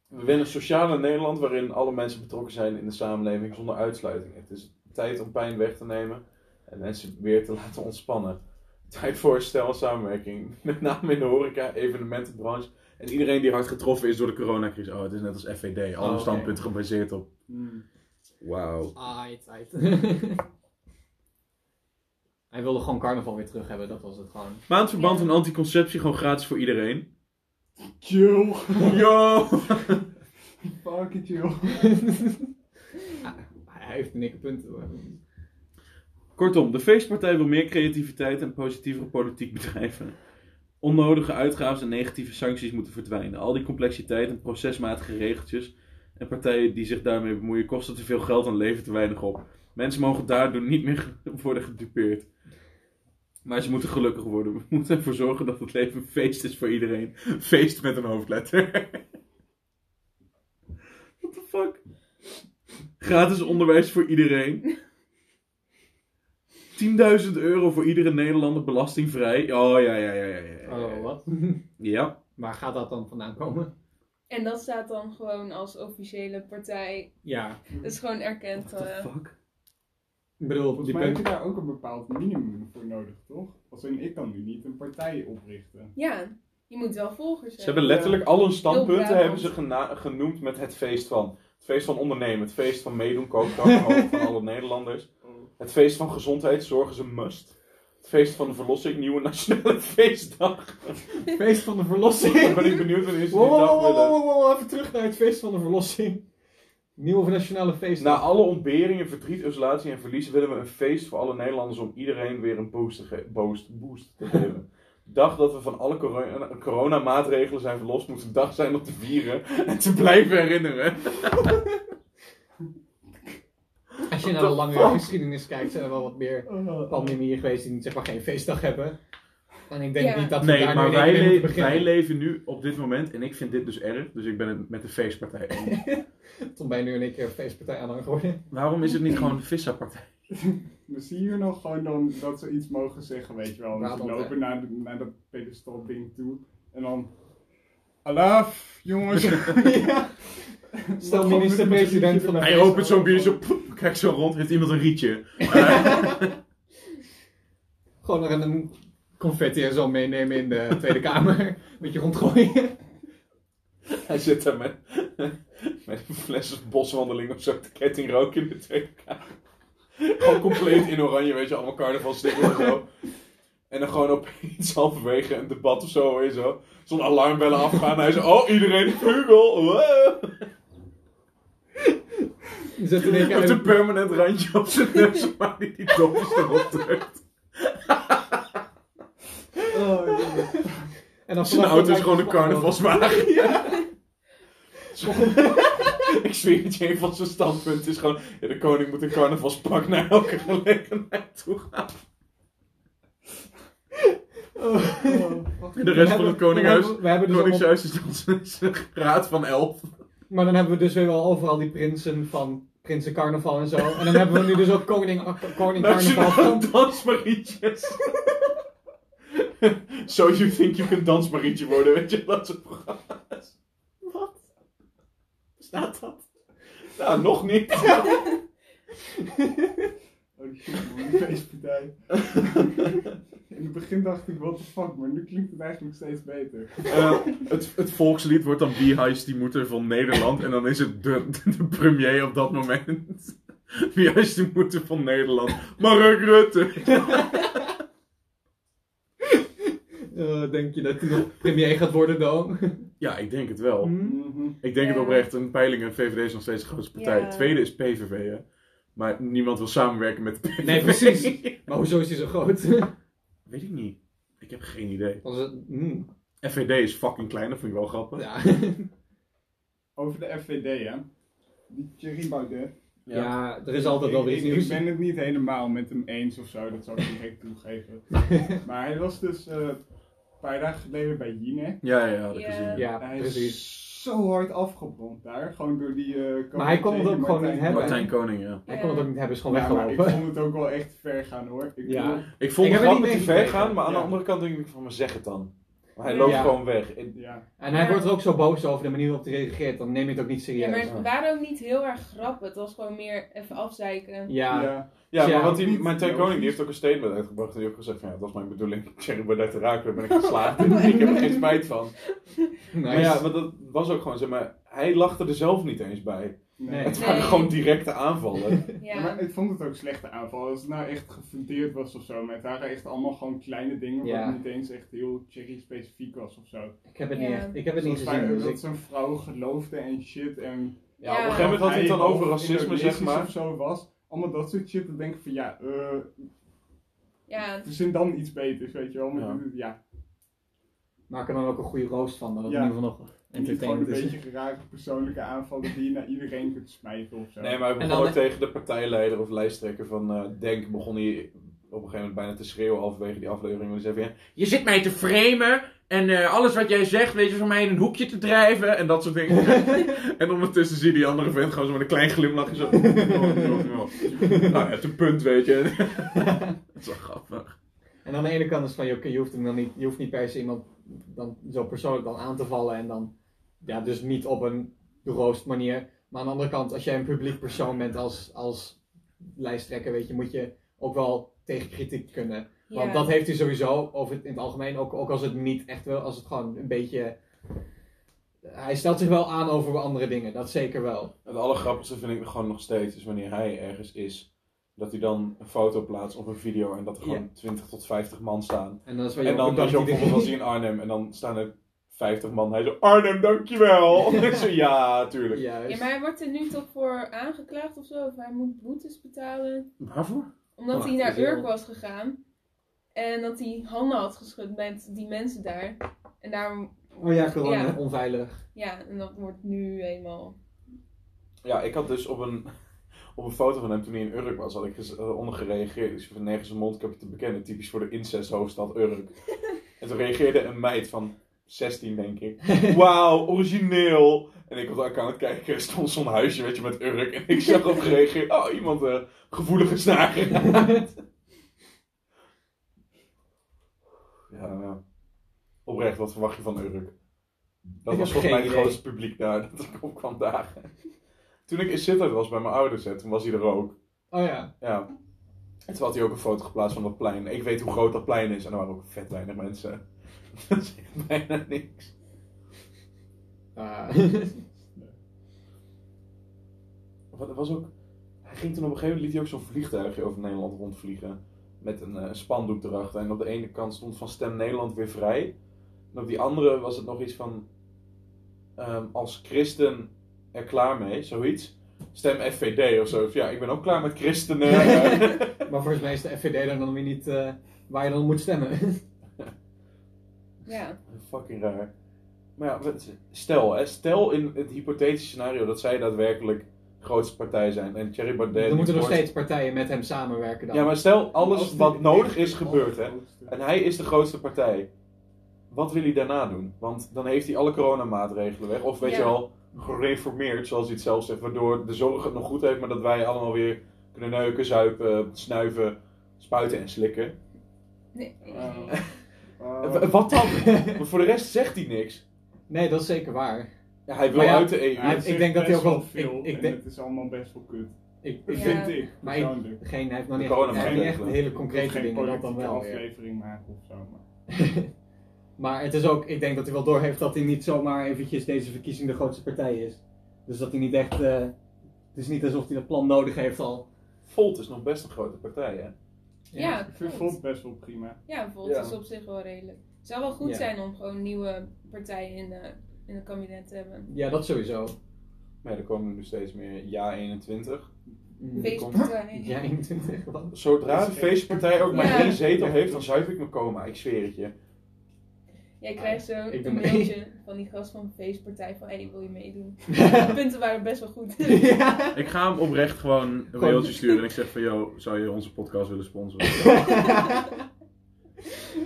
Speaker 1: We willen een sociale Nederland waarin alle mensen betrokken zijn in de samenleving zonder uitsluiting. Het is tijd om pijn weg te nemen en mensen weer te laten ontspannen. Tijd voor herstel en samenwerking, met name in de horeca, evenementenbranche en iedereen die hard getroffen is door de coronacrisis. Oh, het is net als FVD, alle
Speaker 2: Oh, oké.
Speaker 1: standpunten gebaseerd op.
Speaker 2: eh,
Speaker 3: Hmm.
Speaker 1: Wauw.
Speaker 2: Aight, aight. Hij wilde gewoon carnaval weer terug hebben, dat was het gewoon.
Speaker 1: Maandverband en anticonceptie gewoon gratis voor iedereen.
Speaker 3: Chill.
Speaker 1: Yo!
Speaker 3: Fucking chill.
Speaker 2: Ah, Hij heeft een nikke punt. hoor.
Speaker 1: Kortom, de feestpartij wil meer creativiteit en positievere politiek bedrijven. Onnodige uitgaven en negatieve sancties moeten verdwijnen. Al die complexiteit en procesmatige regeltjes en partijen die zich daarmee bemoeien kosten te veel geld en leveren te weinig op. Mensen mogen daardoor niet meer ge- worden gedupeerd. Maar ze moeten gelukkig worden. We moeten ervoor zorgen dat het leven een feest is voor iedereen. Feest met een hoofdletter. What the fuck? Gratis onderwijs voor iedereen. 10.000 euro voor iedere Nederlander belastingvrij. Oh ja, ja, ja, ja. ja, ja.
Speaker 2: Oh, wat?
Speaker 1: Ja.
Speaker 2: Waar gaat dat dan vandaan komen?
Speaker 4: En dat staat dan gewoon als officiële partij.
Speaker 2: Ja,
Speaker 4: Dat is gewoon erkend.
Speaker 1: What the
Speaker 4: eh,
Speaker 1: fuck?
Speaker 2: ik bedoel,
Speaker 3: Volgens
Speaker 2: die
Speaker 3: mij heb je
Speaker 2: punt...
Speaker 3: daar ook een bepaald minimum voor nodig, toch? Als in, ik kan nu niet een partij oprichten.
Speaker 4: ja, je moet wel volgers
Speaker 1: Ze hebben letterlijk
Speaker 3: letterlijk
Speaker 1: al hun standpunten
Speaker 4: standpunten Heel
Speaker 1: hebben ze
Speaker 4: hebben ze
Speaker 1: genoemd met het feest van. Het feest van ondernemen, het feest van meedoen, koopkracht van alle Nederlanders. Het feest van gezondheid, zorg is een must. Het feest van de verlossing, nieuwe nationale feestdag.
Speaker 2: feest van de
Speaker 1: Ik
Speaker 2: verlossing.
Speaker 1: ben ik benieuwd wanneer ze
Speaker 2: Wow,
Speaker 1: die
Speaker 2: wow,
Speaker 1: dag
Speaker 2: wow, wow,
Speaker 1: willen.
Speaker 2: wow, wow, even terug naar het feest van de verlossing. Nieuwe nationale feest.
Speaker 1: Na alle ontberingen, verdriet, isolatie en verlies willen we een feest voor alle Nederlanders om iedereen weer een boost te, ge- boost, boost te geven. De dag dat we van alle corona- coronamaatregelen zijn verlost, moet een dag zijn om te vieren en te blijven herinneren.
Speaker 2: Als je naar de
Speaker 1: What the
Speaker 2: lange
Speaker 1: fuck?
Speaker 2: geschiedenis kijkt, zijn er wel wat meer pandemieën geweest die zeg maar geen feestdag hebben. En ik denk
Speaker 4: Ja.
Speaker 2: niet dat we
Speaker 1: Nee,
Speaker 2: daar
Speaker 1: maar
Speaker 2: nu in
Speaker 1: wij,
Speaker 2: moeten
Speaker 1: le-
Speaker 2: beginnen.
Speaker 1: wij leven nu op dit moment, en ik vind dit dus erg, dus ik ben het met de feestpartij. eens.
Speaker 2: Toen ben je nu in één keer feestpartij aan geworden.
Speaker 1: Waarom is het niet gewoon de Vissa-partij?
Speaker 3: We zien hier nog gewoon dan dat ze iets mogen zeggen, weet je wel. En ze
Speaker 2: Brabant, hè?
Speaker 3: lopen naar, de, naar dat pedestal ding toe. En dan... Alaaf, jongens. ja.
Speaker 2: Stel minister-president van de
Speaker 1: Hij opent zo'n biertje, zo, poep, kijkt zo rond, heeft iemand een rietje.
Speaker 2: Gewoon nog een confetti en zo meenemen in de Tweede Kamer. Een beetje rondgooien.
Speaker 1: Hij zit daar met, met een fles boswandeling of zo te kettingroken in de Tweede Kamer. Gewoon compleet in oranje, weet je, allemaal carnavalstickers en zo. En dan gewoon opeens halverwege een debat of zo, en zo. Zo'n alarmbellen afgaan en hij zo, oh, iedereen vugel. wow."
Speaker 2: Je zet in één keer
Speaker 1: Met een
Speaker 2: een-
Speaker 1: permanent randje op zijn neus, maar die die dopjes erop drukt.
Speaker 2: Oh, en dan
Speaker 1: Zijn
Speaker 2: vanaf
Speaker 1: auto is
Speaker 2: dan
Speaker 1: gewoon een
Speaker 2: lijkt het
Speaker 1: carnavalswagen. Ik zweer het je, een van zijn standpunten is gewoon... Ja, de koning moet een carnavalspak naar elke gelegenheid toe gaan. De rest van het koningshuis,
Speaker 2: We hebben dus allemaal-
Speaker 1: koningshuis is dan zijn- zijn raad van elf.
Speaker 2: Maar dan hebben we dus weer wel overal die prinsen van Prinsen Carnaval en zo. En dan hebben we nu dus ook Koning, koning
Speaker 3: Nou,
Speaker 2: Carnaval van
Speaker 1: Nationale dansmarietjes. so you think you can dansmarietje worden, weet je, dat soort programma's. Wat? Staat dat? Nou, nog niet.
Speaker 3: Oh shit, man, die feestpartij. In het begin dacht ik, what the fuck, maar nu klinkt het eigenlijk steeds beter.
Speaker 1: Eh, het, het volkslied wordt dan Wie hijst die moeder van Nederland? En dan is het de, de premier op dat moment. Wie hijst die moeder van Nederland? Mark Rutte.
Speaker 2: Eh, denk je dat hij nog premier gaat worden dan?
Speaker 1: Ja, ik denk het wel.
Speaker 2: Hm?
Speaker 3: Mhm.
Speaker 1: Ik denk het
Speaker 4: Ja.
Speaker 1: oprecht. Een peiling en VVD is nog steeds de grootste partij.
Speaker 4: Ja.
Speaker 1: Tweede is PVV, hè. Maar niemand wil samenwerken met de PVV.
Speaker 2: Nee, precies. Maar hoezo is hij zo groot?
Speaker 1: Weet ik niet. Ik heb geen idee.
Speaker 2: Als het- hmm,
Speaker 1: FVD is fucking klein, dat vind ik wel grappig.
Speaker 2: ja.
Speaker 3: Over de FVD, hè. Die Thierry Baudet.
Speaker 2: Ja. er is altijd wel weer
Speaker 3: ik,
Speaker 2: iets
Speaker 3: ik-
Speaker 2: nieuws.
Speaker 3: ik ben het niet helemaal met hem eens of zo, dat zou ik direct toegeven. Maar hij was dus eh, een paar dagen geleden bij Jinek.
Speaker 1: Ja, ja, ja, dat ik
Speaker 4: Ja.
Speaker 1: gezien.
Speaker 2: Ja,
Speaker 3: hij
Speaker 2: precies.
Speaker 3: is zo hard afgebrand daar, gewoon door die... eh
Speaker 2: Maar hij kon het ook gewoon niet hebben.
Speaker 1: Martijn Koning, ja.
Speaker 2: Hij kon het ook niet hebben, is gewoon
Speaker 3: Ja, maar ik
Speaker 2: weggelopen.
Speaker 3: vond het ook wel echt ver gaan hoor. Ik
Speaker 2: Ja.
Speaker 3: bedoel,
Speaker 1: Ik vond het
Speaker 2: Ik heb het
Speaker 1: grappig
Speaker 2: niet
Speaker 1: te ver
Speaker 2: meegekregen.
Speaker 1: gaan, maar aan de
Speaker 3: Ja.
Speaker 1: andere kant denk ik van, maar zeg het dan. Maar hij loopt
Speaker 2: Ja.
Speaker 1: gewoon weg. En-
Speaker 3: Ja.
Speaker 2: En hij
Speaker 4: Ja.
Speaker 2: wordt er ook zo boos over de manier waarop hij reageert, dan neem je het ook niet
Speaker 4: Ja, maar
Speaker 2: serieus.
Speaker 4: het waren ook niet heel erg grappen. Het was gewoon meer even afzeiken.
Speaker 2: Ja,
Speaker 3: ja.
Speaker 1: Ja,
Speaker 2: Ja,
Speaker 1: maar wat die,
Speaker 3: niet
Speaker 1: mijn twee
Speaker 3: logisch.
Speaker 1: koning die heeft ook een statement uitgebracht. En die heeft gezegd van, ja, dat was mijn bedoeling. Ik zeg, ik ben daar te raken, daar ben ik geslaagd. en ik heb er geen spijt van.
Speaker 2: nice.
Speaker 1: Maar ja, want dat was ook gewoon, zeg maar, hij lachte er zelf niet eens bij.
Speaker 3: Nee.
Speaker 1: Het waren
Speaker 4: Nee.
Speaker 1: gewoon directe aanvallen.
Speaker 4: Ja.
Speaker 3: Ja, maar ik vond het ook slechte aanval. Als het nou echt gefundeerd was of zo. Maar het waren echt allemaal gewoon kleine dingen.
Speaker 2: Ja.
Speaker 3: Wat niet eens echt heel cherry specifiek was of zo.
Speaker 2: ik heb het niet,
Speaker 4: Ja.
Speaker 2: echt- ik heb het niet
Speaker 3: Zoals
Speaker 2: gezien.
Speaker 3: waar-
Speaker 2: Dus
Speaker 3: dat
Speaker 2: ik,
Speaker 3: zo'n vrouw geloofde en shit. En
Speaker 1: Ja, op een
Speaker 4: Ja.
Speaker 1: gegeven moment had hij het dan
Speaker 3: half
Speaker 1: over racisme, zeg
Speaker 3: Indonesisch
Speaker 1: maar.
Speaker 3: Of zo was. Allemaal dat soort shit. Dan denk ik van ja, eh
Speaker 4: ja.
Speaker 3: verzin dan iets beters, weet je wel. Maar
Speaker 1: Ja.
Speaker 3: ja, ja
Speaker 2: maak er dan ook een goede roost van, dat het
Speaker 3: Ja.
Speaker 2: in ieder geval nog
Speaker 3: niet gewoon een
Speaker 2: entertainment is.
Speaker 3: beetje gerare persoonlijke aanvallen die je naar iedereen kunt smijten of zo.
Speaker 1: Nee, maar hij
Speaker 2: En
Speaker 1: begon
Speaker 2: dan-
Speaker 1: ook tegen de partijleider of lijsttrekker van eh, Denk, begon hij op een gegeven moment bijna te schreeuwen halverwege die aflevering. Want hij zei van, ja, je zit mij te framen en eh, alles wat jij zegt, weet je, van mij in een hoekje te drijven en dat soort dingen. en ondertussen zie je die andere vent gewoon zo met een klein glimlachje zo. nou ja, een punt, weet je. dat is wel grappig.
Speaker 2: En aan de ene kant is van, oké, je hoeft hem dan niet, je hoeft niet per se iemand dan zo persoonlijk dan aan te vallen en dan, ja, dus niet op een roost manier. Maar aan de andere kant, als jij een publiek persoon bent als, als lijsttrekker, weet je, moet je ook wel tegen kritiek kunnen.
Speaker 4: ja.
Speaker 2: Want dat heeft hij sowieso over het, in het algemeen, ook, ook als het niet echt wel, als het gewoon een beetje. Hij stelt zich wel aan over andere dingen, dat zeker wel.
Speaker 1: Het allergrappigste vind ik gewoon nog steeds, is wanneer hij ergens is, dat hij dan een foto plaatst of een video en dat er gewoon 20 tot 50 man staan.
Speaker 2: En dat is wel
Speaker 1: En dan was je ook
Speaker 2: bedankt
Speaker 1: bijvoorbeeld als hij in Arnhem en dan staan er 50 man. Hij zo, Arnhem, dankjewel. En ik zo, ja, tuurlijk.
Speaker 2: iedereen- Juist.
Speaker 4: Ja, maar hij wordt er nu toch voor aangeklaagd of zo? Of hij moet boetes betalen?
Speaker 1: Waarvoor?
Speaker 4: Omdat
Speaker 2: Wacht,
Speaker 4: hij
Speaker 2: is
Speaker 4: naar
Speaker 2: heel-
Speaker 4: Urk was gegaan. En dat hij handen had geschud met die mensen daar. En daarom,
Speaker 2: Oh ja, corona,
Speaker 4: Ja.
Speaker 2: onveilig.
Speaker 4: ja, en dat wordt nu eenmaal.
Speaker 1: Ja, ik had dus op een, op een foto van hem toen hij in Urk was, had ik gez- eh, onder gereageerd. Ik zei van nergens een mondkapje te bekennen, typisch voor de incesthoofdstad Urk. en toen reageerde een meid van 16, denk ik. Wauw, origineel. En ik op de account kijken, stond zo'n huisje weet je, met Urk. En ik zag op gereageerd, oh, iemand eh gevoelige snaar. Ja, ja. Oprecht, wat verwacht je van Urk? Dat
Speaker 2: Ik
Speaker 1: was
Speaker 2: heb
Speaker 1: volgens mij
Speaker 2: geen
Speaker 1: het
Speaker 2: idee.
Speaker 1: grootste publiek daar dat ik op kwam dagen. Toen ik in Sittard was bij mijn ouders, hè, toen was hij er ook.
Speaker 2: Oh ja.
Speaker 1: Ja. En toen had hij ook een foto geplaatst van dat plein. Ik weet hoe groot dat plein is. En er waren ook vet weinig mensen. Dat is echt bijna niks.
Speaker 2: Ah.
Speaker 1: Wat er was ook... Hij ging toen op een gegeven moment, liet hij ook zo'n vliegtuigje over Nederland rondvliegen. Met een eh, spandoek erachter. En op de ene kant stond van Stem Nederland weer vrij. En op die andere was het nog iets van... ehm, als christen er klaar mee, zoiets. Stem FVD of zo. Ja, ik ben ook klaar met christenen.
Speaker 2: maar volgens mij is de FVD daar dan weer niet eh, waar je dan moet stemmen.
Speaker 4: Ja,
Speaker 1: Fucking raar. Maar ja, wat- stel, hè, stel in het hypothetische scenario dat zij daadwerkelijk de grootste partij zijn en Thierry Baudet.
Speaker 2: dan moeten nog
Speaker 1: wordt-
Speaker 2: steeds partijen met hem samenwerken dan.
Speaker 1: Ja, maar stel,
Speaker 3: Als
Speaker 1: alles
Speaker 3: die
Speaker 1: wat
Speaker 3: echt
Speaker 1: nodig is
Speaker 3: de
Speaker 1: gebeurd, hè.
Speaker 3: allergrootste-
Speaker 1: En hij is de grootste partij. Wat wil hij daarna doen? Want dan heeft hij alle coronamaatregelen weg. Of weet
Speaker 4: Ja.
Speaker 1: je al, gereformeerd, zoals hij het zelf zegt. Waardoor de zorg het nog goed heeft, maar dat wij allemaal weer kunnen neuken, zuipen, snuiven, spuiten en slikken.
Speaker 4: nee.
Speaker 3: Wauw.
Speaker 1: W- Wat dan? maar voor de rest zegt hij niks.
Speaker 2: Nee, dat is zeker waar.
Speaker 1: Ja, hij wil
Speaker 2: Maar ja,
Speaker 1: uit de E EU.
Speaker 2: hij-
Speaker 3: Het
Speaker 2: ik
Speaker 3: zegt
Speaker 2: denk dat hij ook
Speaker 3: best
Speaker 2: wel-
Speaker 3: veel
Speaker 2: ik- ik
Speaker 3: en
Speaker 2: denk-
Speaker 3: het is allemaal best wel kut.
Speaker 2: Ik,
Speaker 4: Ja.
Speaker 3: Vind ik,
Speaker 2: Maar ik-
Speaker 3: persoonlijk.
Speaker 2: geen, hij heeft nog
Speaker 1: De
Speaker 2: niet, hij heeft niet echt
Speaker 1: coronamaatregelen.
Speaker 2: hele
Speaker 3: Ik wil
Speaker 2: concrete
Speaker 3: geen
Speaker 2: dingen, dat dan
Speaker 3: politieke
Speaker 2: wel. weer.
Speaker 3: aflevering maken of zo. Maar.
Speaker 2: Maar het is ook, ik denk dat hij wel doorheeft dat hij niet zomaar eventjes deze verkiezing de grootste partij is. Dus dat hij niet echt, eh, het is niet alsof hij dat plan nodig heeft al.
Speaker 1: Volt is nog best een grote partij, hè?
Speaker 4: Ja,
Speaker 3: Ik vind
Speaker 4: klopt.
Speaker 3: Volt best wel prima.
Speaker 4: Ja, bijvoorbeeld
Speaker 1: Ja.
Speaker 4: is op zich wel redelijk. Het zou wel goed
Speaker 2: Ja.
Speaker 4: zijn om gewoon nieuwe partijen in, eh in het kabinet te hebben.
Speaker 2: Ja, dat sowieso.
Speaker 1: Maar ja, er komen nu steeds meer Ja 21.
Speaker 2: Mm.
Speaker 4: Feestpartij.
Speaker 2: Ja, 21, wat?
Speaker 1: Zodra de feestpartij ook maar
Speaker 4: Ja.
Speaker 1: één zetel heeft, dan zuip ik mijn coma, ik zweer het je.
Speaker 4: Jij krijgt zo
Speaker 2: Ik
Speaker 4: een
Speaker 2: doe mee.
Speaker 4: mailtje van die gast van de feestpartij van, hé, wil je meedoen? De punten waren best wel goed.
Speaker 2: ja.
Speaker 1: Ik ga hem oprecht gewoon een
Speaker 2: mailtje
Speaker 1: sturen en ik zeg van, joh, zou je onze podcast willen sponsoren?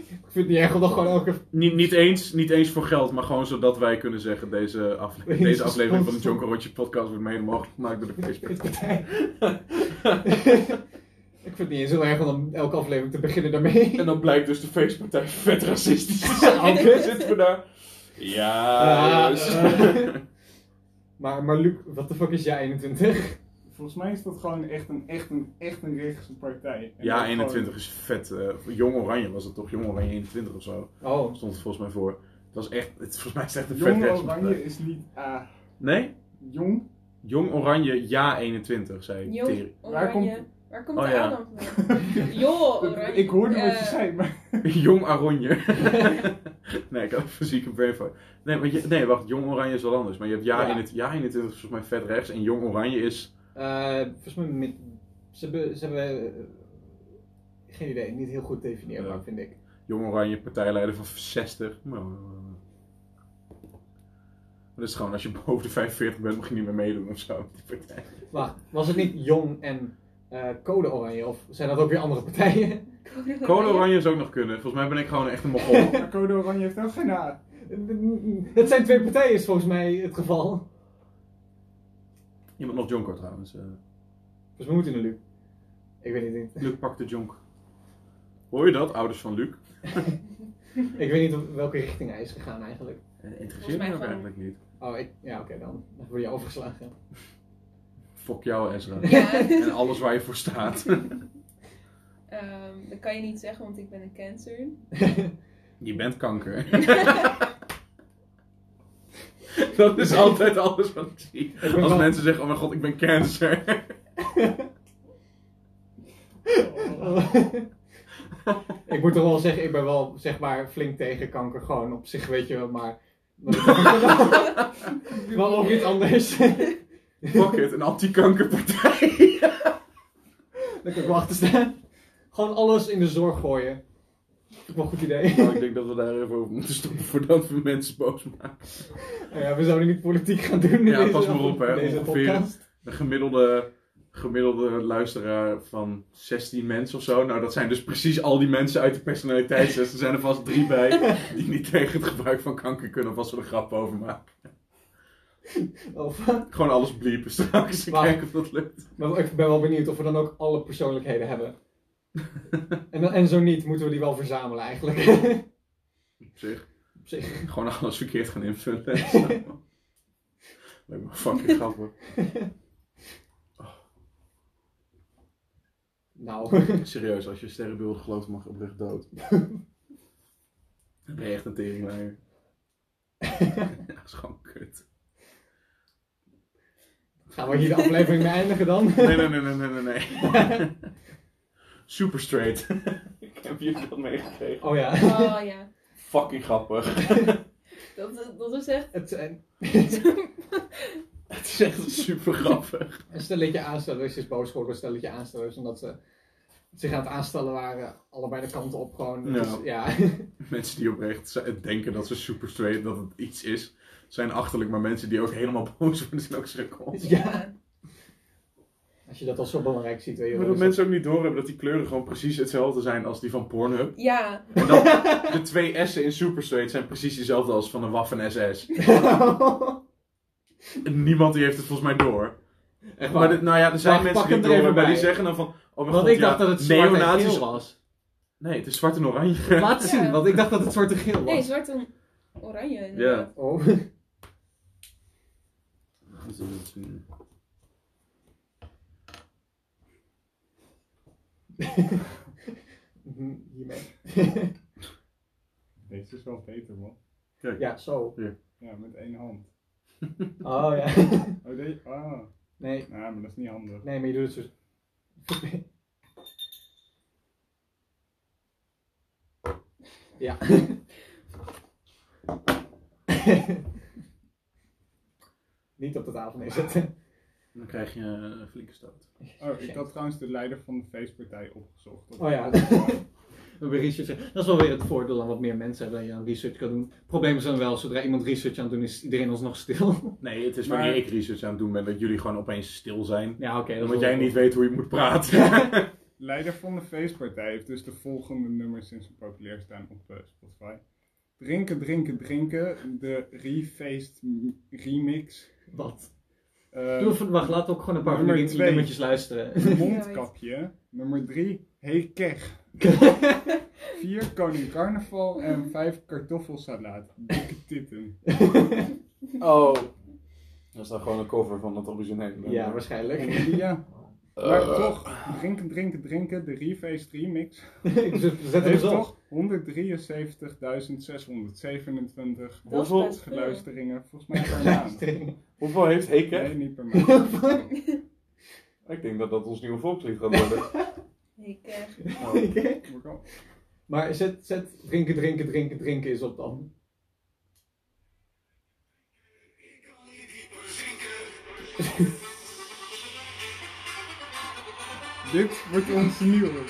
Speaker 2: Ik vind het niet erg om dat gewoon elke
Speaker 1: Niet, niet, eens, niet eens voor geld, maar gewoon zodat wij kunnen zeggen, deze, afle-
Speaker 2: Deze deze aflevering van de sponsor.
Speaker 1: Jonker Rotje podcast wordt mede mogelijk gemaakt door de
Speaker 2: partij. Ik vind het niet eens heel erg om dan elke aflevering te beginnen daarmee.
Speaker 5: En dan blijkt dus de feestpartij vet racistisch te zijn.
Speaker 2: Oké.
Speaker 5: Zitten we daar? Ja,
Speaker 2: Ah,
Speaker 5: jongens.
Speaker 2: eh. maar, maar Luc, wat de fuck is jij 21?
Speaker 3: Volgens mij is dat gewoon echt een, echt een, echt een rechtse partij. En dat
Speaker 5: ja,
Speaker 3: gewoon-
Speaker 5: 21 is vet. eh, Jong Oranje was dat toch? Jong Oranje 21 of zo.
Speaker 2: Oh,
Speaker 5: Stond het volgens mij voor. Het was echt, het, volgens mij is het echt een vet
Speaker 3: Jong
Speaker 5: rechtspartij.
Speaker 3: Oranje is niet ah,
Speaker 5: Nee?
Speaker 3: jong.
Speaker 5: Jong Oranje, ja 21, zei ik.
Speaker 4: Jong
Speaker 5: Tering.
Speaker 3: Waar komt-
Speaker 4: Oranje. Waar komt
Speaker 5: Oh,
Speaker 4: de
Speaker 5: ja.
Speaker 4: A dan vandaan? Joh, Oranje.
Speaker 3: Ik hoorde wat
Speaker 4: Eh,
Speaker 3: je zei, maar
Speaker 5: Jong Oranje. nee, ik had een fysieke brain fart. Nee, want je, nee, wacht, Jong Oranje is wel anders. Maar je hebt ja,
Speaker 2: Ja.
Speaker 5: In het, ja 21 is volgens mij vet rechts. En Jong Oranje is...
Speaker 2: eh, volgens mij met, ze hebben, ze hebben eh, geen idee, niet heel goed definieerbaar
Speaker 5: Ja.
Speaker 2: vind ik.
Speaker 5: Jong Oranje, partijleider van 60. Nou, eh, dat is gewoon, als je boven de 45 bent, mag je niet meer meedoen of zo. Die partij.
Speaker 2: Wacht, was het niet Jong en eh, Code Oranje of zijn dat ook weer andere partijen?
Speaker 5: Code Oranje zou ook nog kunnen. Volgens mij ben ik gewoon echt een mogol.
Speaker 3: maar Code Oranje heeft ook geen A.
Speaker 2: Het zijn twee partijen is volgens mij het geval.
Speaker 5: Iemand nog Jonko trouwens. eh.
Speaker 2: Dus we moeten naar Luc. Ik weet niet,
Speaker 5: Luc pakt de jonk. Hoor je dat, ouders van Luc?
Speaker 2: ik weet niet op welke richting hij is gegaan eigenlijk.
Speaker 4: Volgens
Speaker 5: Eh, Interesseert
Speaker 4: mij
Speaker 5: me ook
Speaker 4: gewoon-
Speaker 5: eigenlijk niet.
Speaker 2: Oh, ik, ja oké dan. Dan word je overgeslagen.
Speaker 5: Fok jou, Ezra.
Speaker 4: Ja,
Speaker 5: en alles waar je voor staat.
Speaker 4: ehm, dat kan je niet zeggen, want ik ben een cancer.
Speaker 5: Je bent kanker. dat is altijd alles wat ik zie.
Speaker 2: ben
Speaker 5: Als
Speaker 2: wel-
Speaker 5: mensen zeggen, oh mijn god, ik ben cancer.
Speaker 2: Oh, ik moet toch wel zeggen, ik ben wel zeg maar flink tegen kanker gewoon op zich, weet je wel, maar dat is wel- wel ook iets anders.
Speaker 5: Fuck it, een anti-kankerpartij.
Speaker 2: Dan kan ik wachten staan. Gewoon alles in de zorg gooien. Vind ik wel een goed idee.
Speaker 5: nou, ik denk dat we daar even over moeten stoppen voordat we mensen boos maken.
Speaker 2: Nou ja, we zouden niet politiek gaan doen in
Speaker 5: Ja,
Speaker 2: deze,
Speaker 5: pas maar op, hè,
Speaker 2: in deze
Speaker 5: ongeveer.
Speaker 2: podcast.
Speaker 5: De gemiddelde, gemiddelde luisteraar van 16 mensen of zo. Nou, dat zijn dus precies al die mensen uit de personaliteitstest. Er zijn er vast drie bij die niet tegen het gebruik van kanker kunnen. Of als we er grap over maken.
Speaker 2: Of,
Speaker 5: Gewoon alles bliepen straks en
Speaker 2: Maar-
Speaker 5: kijken of dat lukt.
Speaker 2: maar ik ben wel benieuwd of we dan ook alle persoonlijkheden hebben. En, dan- en zo niet, moeten we die wel verzamelen eigenlijk.
Speaker 5: Op zich.
Speaker 2: Op zich.
Speaker 5: Gewoon alles verkeerd gaan invullen. en zo. Lijkt me fucking grappig.
Speaker 2: Nou,
Speaker 5: Serieus, als je sterrenbeelden gelooft, mag je oprecht dood. Dan ben je echt een teringleier. dat is gewoon kut.
Speaker 2: gaan we hier de aflevering mee eindigen dan?
Speaker 5: Nee, nee, nee, nee, nee, nee. nee. Super straight. Ik heb jullie dat meegekregen.
Speaker 2: Oh ja.
Speaker 4: Oh ja,
Speaker 5: Fucking grappig.
Speaker 4: dat, dat is echt...
Speaker 2: Het, eh, een
Speaker 5: Het is echt super grappig.
Speaker 2: een stelletje aanstellers is boos geworden, een stelletje aanstellers, omdat ze zich aan het aanstellen waren, allebei de kanten op gewoon. Het
Speaker 5: Nou.
Speaker 2: is- ja.
Speaker 5: Mensen die oprecht z- denken dat ze super straight, dat het iets is, zijn achterlijk. Maar mensen die ook helemaal boos worden, zijn ook schrikkels.
Speaker 2: ja. Als je dat als zo belangrijk ziet, weet je
Speaker 5: Maar
Speaker 2: wel.
Speaker 5: dat
Speaker 2: is dat-
Speaker 5: mensen ook niet doorhebben dat die kleuren gewoon precies hetzelfde zijn als die van Pornhub.
Speaker 4: Ja,
Speaker 5: En dan de twee S'en in Super Straight zijn precies dezelfde als van een Waffen SS. En niemand die heeft het volgens mij door.
Speaker 2: Echt
Speaker 5: Maar
Speaker 2: waar.
Speaker 5: dit, nou ja, er zijn
Speaker 2: Wacht,
Speaker 5: mensen
Speaker 2: pak
Speaker 5: die
Speaker 2: hem er
Speaker 5: het door
Speaker 2: even
Speaker 5: hebben, die
Speaker 2: bij.
Speaker 5: zeggen dan van... Oh mijn
Speaker 2: Want
Speaker 5: god,
Speaker 2: ik dacht
Speaker 5: ja,
Speaker 2: dat het zwart en
Speaker 5: neonazi's-
Speaker 2: geel was.
Speaker 5: Nee, het is zwart en oranje.
Speaker 2: Laat
Speaker 4: Ja.
Speaker 2: zien, want ik dacht dat het zwart en geel was.
Speaker 4: nee, zwart en oranje inderdaad.
Speaker 2: Oh. Mhm, Hiermee.
Speaker 3: Deze is wel beter, man.
Speaker 2: Ja, zo.
Speaker 3: Ja, met één hand.
Speaker 2: Oh ja.
Speaker 3: Oh, deze. Ah,
Speaker 2: Nee,
Speaker 3: nou, maar dat is niet handig.
Speaker 2: nee, maar je doet het zo. ja. Niet op de tafel neerzetten.
Speaker 5: Dan krijg je een flinke stoot.
Speaker 3: Oh, ik had trouwens de leider van de feestpartij opgezocht.
Speaker 2: Oh ja. Weer research. Dat is wel weer het voordeel aan wat meer mensen hebben dat je aan research kan doen. Probleem is dan wel, zodra iemand research aan het doen is, iedereen alsnog stil.
Speaker 5: Nee, het is
Speaker 3: Maar-
Speaker 5: wanneer ik research aan het doen ben dat jullie gewoon opeens stil zijn.
Speaker 2: Ja, oké. dat is
Speaker 5: Omdat
Speaker 2: wel-
Speaker 5: jij niet weet hoe je moet praten.
Speaker 3: Leider van de feestpartij heeft dus de volgende nummers sinds ze populair staan op eh, Spotify. Drinken, drinken, drinken. De Refeest m- remix.
Speaker 2: Wat?
Speaker 3: eh,
Speaker 2: Doe even- wacht, laat ook gewoon een paar van
Speaker 3: Nummer
Speaker 2: die
Speaker 3: twee.
Speaker 2: nummertjes luisteren.
Speaker 3: mondkapje. Nummer 3, hey kech. 4, koning carnaval. En 5, kartoffelsalaat. Dikke titten.
Speaker 6: Oh. Dat is dan gewoon een cover van het originele. nummer.
Speaker 2: ja, waarschijnlijk.
Speaker 3: Ja,
Speaker 1: Eh,
Speaker 3: maar
Speaker 2: Eh,
Speaker 3: toch, drinken, drinken, drinken. De reface remix.
Speaker 2: Ik zet zet hem eens
Speaker 3: Heeft
Speaker 2: op.
Speaker 3: toch 173.627
Speaker 4: Dat is
Speaker 6: Hoeveel
Speaker 4: best veel.
Speaker 3: geluisteringen. Volgens mij per maand.
Speaker 6: Hoeveel heeft Hey
Speaker 3: Nee,
Speaker 6: Kech?
Speaker 3: niet per maand.
Speaker 6: Ik denk dat dat ons nieuwe volkslied gaat worden.
Speaker 4: Ik, eh,
Speaker 6: Oh,
Speaker 3: Moet ik al-
Speaker 2: Maar zet, zet drinken, drinken, drinken, drinken is op dan.
Speaker 3: Dit wordt ons nieuwe.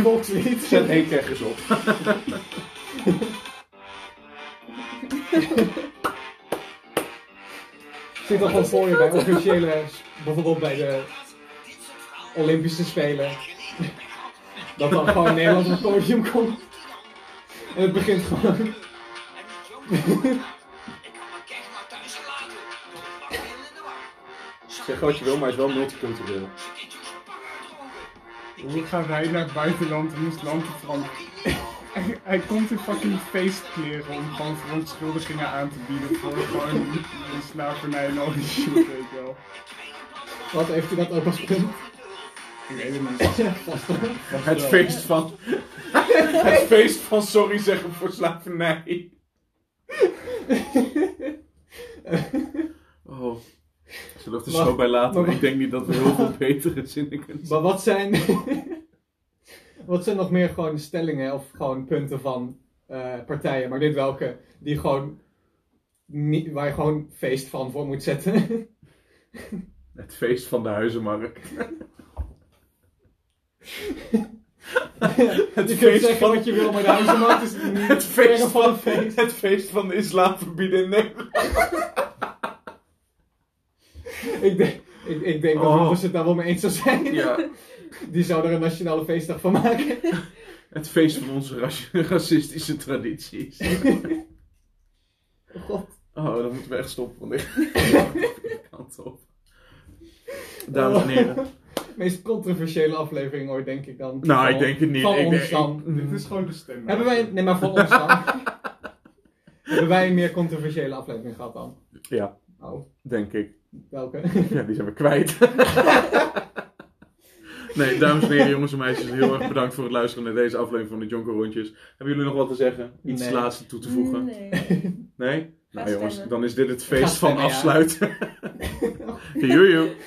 Speaker 2: Volkslied.
Speaker 6: Zet Hey Kech eens op.
Speaker 2: Zit al gewoon voor je bij officiële, bijvoorbeeld bij de Olympische Spelen. Dat dan gewoon Nederland op het podium komt. En het begint gewoon.
Speaker 6: Zeg wat je wil, maar het is wel multicultureel.
Speaker 3: Hoe gaan wij naar het buitenland om ons land te veranderen? Hij, hij komt in fucking feestkleren om gewoon verontschuldigingen aan te bieden voor gewoon de slavernij en al die shit, weet je wel.
Speaker 2: Wat heeft hij dat ook als punt?
Speaker 3: Ik weet het niet.
Speaker 1: Het feest van.
Speaker 6: Het feest van sorry zeggen voor slavernij.
Speaker 1: Oh. Zullen we het er
Speaker 2: Maar-
Speaker 1: zo bij laten?
Speaker 2: maar-
Speaker 1: Ik denk niet dat we heel veel betere zinnen kunnen
Speaker 2: Maar wat zijn. wat zijn nog meer gewoon stellingen of gewoon punten van eh, partijen, maar dit welke, die gewoon. Niet, waar je gewoon feest van voor moet zetten.
Speaker 1: Het feest van de huizenmarkt.
Speaker 2: je kunt
Speaker 1: feest
Speaker 2: zeggen
Speaker 1: van-
Speaker 2: wat je wil, maar de huizenmarkt is niet
Speaker 1: Het feest
Speaker 2: verre
Speaker 1: van,
Speaker 2: een feest.
Speaker 1: het feest van de islam verbieden in Nederland.
Speaker 2: Ik denk, ik, ik denk dat
Speaker 1: Oh.
Speaker 2: Robbers het daar wel mee eens zou zijn.
Speaker 1: Ja.
Speaker 2: Die zou er een nationale feestdag van maken.
Speaker 1: Het feest van onze raci- racistische tradities.
Speaker 2: God.
Speaker 1: Oh, dan moeten we echt stoppen, want ik ga de verkeerde kant op. Dames en heren.
Speaker 2: Meest controversiële aflevering ooit, denk ik dan.
Speaker 1: Nou,
Speaker 2: Van-
Speaker 1: ik denk het niet.
Speaker 2: Van
Speaker 1: ik
Speaker 2: ons
Speaker 1: denk,
Speaker 2: dan.
Speaker 3: Dit is gewoon de stem.
Speaker 2: Hebben wij, nee, maar van ons dan. Hebben wij een meer controversiële aflevering gehad dan?
Speaker 1: Ja,
Speaker 2: Oh,
Speaker 1: denk ik.
Speaker 2: welke?
Speaker 1: Ja, die zijn we kwijt. nee, dames en heren, jongens en meisjes, heel erg bedankt voor het luisteren naar deze aflevering van de Jonko Rondjes. Hebben jullie nog wat te zeggen? Iets
Speaker 2: Nee.
Speaker 1: laatste toe te voegen?
Speaker 4: Nee.
Speaker 1: Nee? Nou jongens,
Speaker 4: stemmen.
Speaker 1: dan is dit het
Speaker 2: Ga
Speaker 1: feest van
Speaker 2: stemmen, ja.
Speaker 1: afsluiten. Joejoe.